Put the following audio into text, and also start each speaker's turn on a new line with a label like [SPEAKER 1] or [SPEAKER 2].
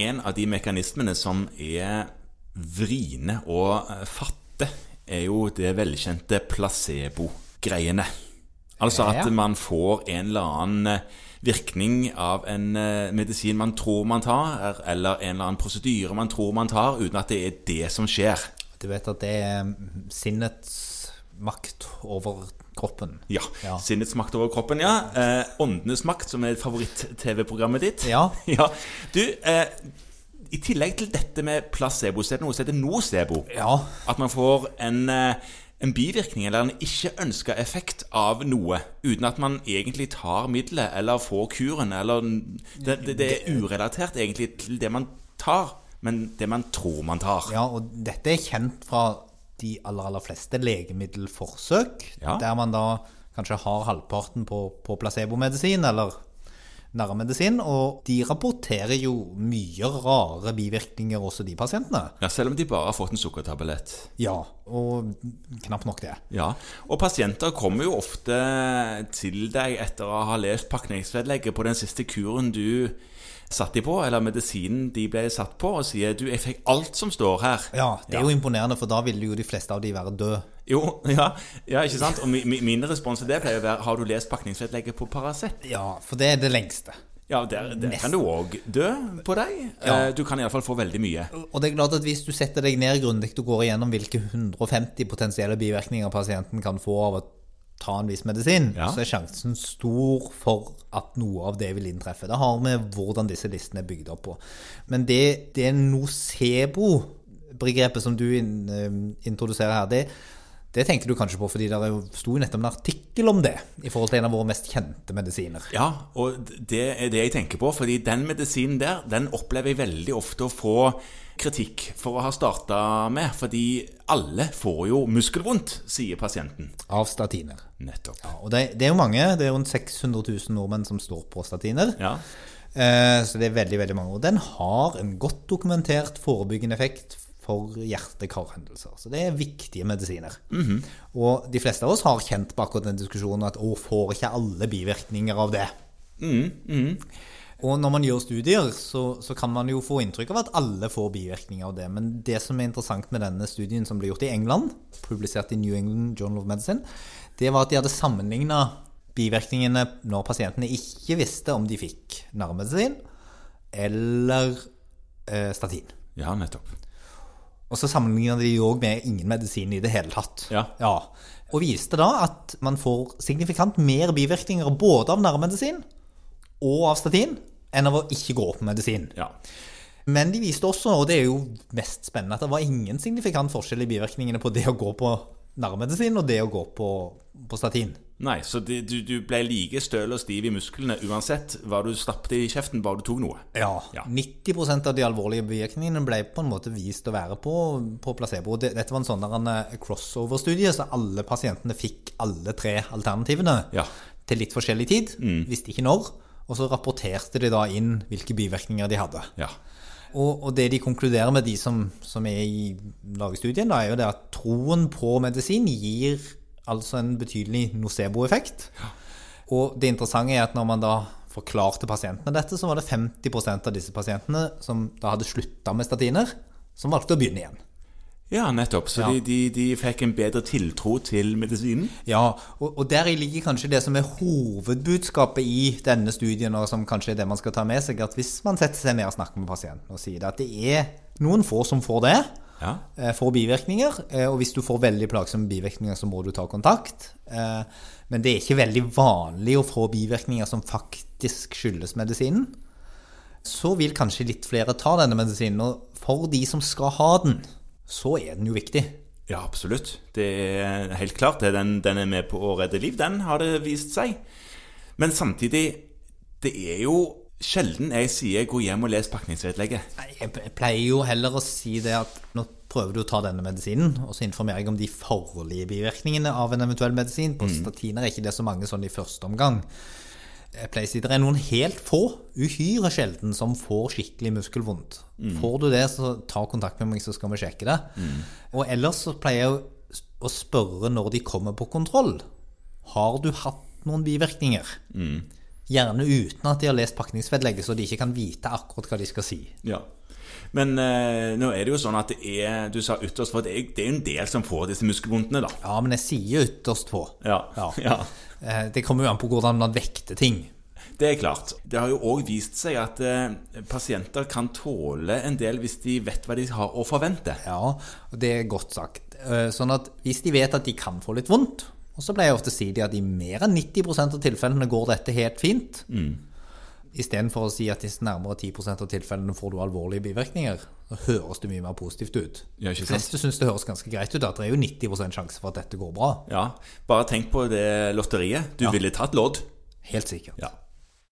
[SPEAKER 1] en av de mekanismene som er vriene og eh, fatte, er jo det velkjente placebo-greiene. Altså at
[SPEAKER 2] Ja.
[SPEAKER 1] man får en eller annen eh, virkning av en eh, medisin man tror man tar, eller en eller annen prosedyre man tror man tar, uten at det er det som skjer.
[SPEAKER 2] Du vet at det er sinnets makt over kroppen.
[SPEAKER 1] Ja.
[SPEAKER 2] Ja.
[SPEAKER 1] Sinnets makt over kroppen, ja. Eh, Åndenes makt, som er favoritt-TV-programmet ditt.
[SPEAKER 2] Ja.
[SPEAKER 1] ja. Du, eh, i tillegg til dette med placebo, så er det noe som heter nocebo.
[SPEAKER 2] Ja.
[SPEAKER 1] At man får en, eh, en bivirkning eller en ikke ønska effekt av noe, uten at man egentlig tar middelet eller får kuren. Eller det, det, det er urelatert egentlig til det man tar, men det man tror man tar.
[SPEAKER 2] Ja, og dette er kjent fra de aller, aller fleste legemiddelforsøk,
[SPEAKER 1] Ja.
[SPEAKER 2] der man da kanskje har halvparten på, på placebomedisin eller nærmedisin, og de rapporterer jo mye rare bivirkninger også de pasientene.
[SPEAKER 1] Ja, selv om de bare har fått en sukkertablett.
[SPEAKER 2] Ja, og knapt nok det.
[SPEAKER 1] Ja, og pasienter kommer jo ofte til deg etter å ha lest pakningsvedlegget på den siste kuren du satt de på, eller medisinen de ble satt på, og sier du, jeg fikk alt som står her.
[SPEAKER 2] Ja, det er jo imponerende, for da ville jo de fleste av de være døde.
[SPEAKER 1] Jo, ja, ja ikke sant? Og mi, mi, min respons til det pleier å være, har du lest pakningsvedlegget på Paracet?
[SPEAKER 2] Ja, for det er det lengste.
[SPEAKER 1] Ja, der, der kan du òg dø på deg.
[SPEAKER 2] Ja.
[SPEAKER 1] Eh, Du kan iallfall få veldig mye.
[SPEAKER 2] Og det er klart at hvis du setter deg ned grundig og går igjennom hvilke 150 potensielle bivirkninger pasienten kan få av å ta en viss medisin,
[SPEAKER 1] Ja.
[SPEAKER 2] så er sjansen stor for at noe av det vil inntreffe. Det har med hvordan disse listene er bygd opp på. Men det, det nocebo-begrepet som du inn- eh, introduserer her, det, det tenker du kanskje på fordi det er jo- sto jo nettopp en artikkel om det i forhold til en av våre mest kjente medisiner.
[SPEAKER 1] Ja, og det er det jeg tenker på, fordi den medisinen der, den opplever jeg veldig ofte å få kritikk for å ha starta med, fordi alle får jo muskelvondt, sier pasienten.
[SPEAKER 2] Av statiner.
[SPEAKER 1] Nettopp.
[SPEAKER 2] Ja, og det, det er jo mange. Det er rundt 600 000 nordmenn som står på statiner.
[SPEAKER 1] Ja.
[SPEAKER 2] Eh, Så det er veldig, veldig mange. Og den har en godt dokumentert forebyggende effekt for hjerte-karhendelser. Så det er viktige medisiner. Og de fleste av oss har kjent på akkurat den diskusjonen at å, får ikke alle bivirkninger av det? Og når man gjør studier, så, så kan man jo få inntrykk av at alle får bivirkninger av det. Men det som er interessant med denne studien som ble gjort i England, publisert i New England Journal of Medicine, det var at de hadde sammenligna bivirkningene når pasientene ikke visste om de fikk nærmedisin eller eh, statin.
[SPEAKER 1] ja, nettopp.
[SPEAKER 2] Og så sammenligna de òg med ingen medisin i det hele tatt.
[SPEAKER 1] Ja.
[SPEAKER 2] Og viste da at man får signifikant mer bivirkninger både av nærmedisin og av statin enn av å ikke gå på medisin.
[SPEAKER 1] Ja.
[SPEAKER 2] Men de viste også, og det er jo mest spennende, at det var ingen signifikant forskjell i bivirkningene på det å gå på nærmedisin og det å gå på, på statin.
[SPEAKER 1] Nei, så det, du, du ble like støl og stiv i musklene uansett hva du stappet i kjeften, bare du tok noe.
[SPEAKER 2] Ja.
[SPEAKER 1] Ja.
[SPEAKER 2] 90 av de alvorlige bivirkningene ble på en måte vist å være på, på placebo. Det- Dette var en sånn der en, eh, crossover-studie, så alle pasientene fikk alle tre alternativene
[SPEAKER 1] Ja. Mm.
[SPEAKER 2] til litt forskjellig tid, visste ikke når. Og så rapporterte de da inn hvilke bivirkninger de hadde.
[SPEAKER 1] Ja.
[SPEAKER 2] Og, og det de konkluderer med, de som, som er i lagstudien, da, er jo det at troen på medisin gir altså en betydelig nocebo-effekt. Og det interessante er at når man da forklarte pasientene dette, så var det 50 av disse pasientene som da hadde slutta med statiner, som valgte å begynne igjen.
[SPEAKER 1] Ja, nettopp. Så
[SPEAKER 2] Ja.
[SPEAKER 1] De, de, de fikk en bedre tiltro til medisinen.
[SPEAKER 2] Ja, og, og deri ligger kanskje det som er hovedbudskapet i denne studien, og som kanskje er det man skal ta med seg, at hvis man setter seg ned og snakker med pasienten og sier det, at det er noen få som får det,
[SPEAKER 1] Ja.
[SPEAKER 2] eh, får bivirkninger, eh, og hvis du får veldig plagsomme bivirkninger, så må du ta kontakt. Eh, Men det er ikke veldig vanlig å få bivirkninger som faktisk skyldes medisinen. Så vil kanskje litt flere ta denne medisinen, og for de som skal ha den, så er den jo viktig.
[SPEAKER 1] Ja, absolutt. Det er helt klart. det. Den, den er med på å redde liv, den har det vist seg. Men samtidig, det er jo sjelden jeg sier 'gå hjem og les pakningsvedlegget'.
[SPEAKER 2] Nei, Jeg jeg pleier jo heller å si det at nå prøver du å ta denne medisinen, og så informerer jeg om de farlige bivirkningene av en eventuell medisin. På statiner er ikke det så mange sånn i første omgang. Jeg pleier å si det er noen helt få, uhyre sjelden, som får skikkelig muskelvondt. Får du det, så ta kontakt med meg, så skal vi sjekke det. Og ellers så pleier jeg å- å spørre når de kommer på kontroll. Har du hatt noen bivirkninger? Gjerne uten at de har lest pakningsvedlegget, så de ikke kan vite akkurat hva de skal si.
[SPEAKER 1] Ja. Men eh, nå er det jo sånn at det er Du sa ytterst få. Det er det er jo en del som får disse muskelvondtene, da.
[SPEAKER 2] Ja, men jeg sier ytterst få.
[SPEAKER 1] Ja. ja.
[SPEAKER 2] Eh, Det kommer jo an på hvordan man vekter ting.
[SPEAKER 1] Det er klart. Det har jo òg vist seg at eh, pasienter kan tåle en del hvis de vet hva de har å forvente.
[SPEAKER 2] Ja, og det er godt sagt. Eh, Sånn at hvis de vet at de kan få litt vondt, og så pleier jeg ofte å si de at i mer enn 90 av tilfellene går dette helt fint.
[SPEAKER 1] Mm.
[SPEAKER 2] Istedenfor å si at i nærmere 10 av tilfellene får du alvorlige bivirkninger, så høres det mye mer positivt ut.
[SPEAKER 1] Ja,
[SPEAKER 2] De
[SPEAKER 1] ikke sant?
[SPEAKER 2] fleste syns det høres ganske greit ut, at det er jo 90 sjanse for at dette går bra.
[SPEAKER 1] Ja. Bare tenk på det lotteriet. Du ville tatt lodd.
[SPEAKER 2] Helt sikkert.
[SPEAKER 1] Ja.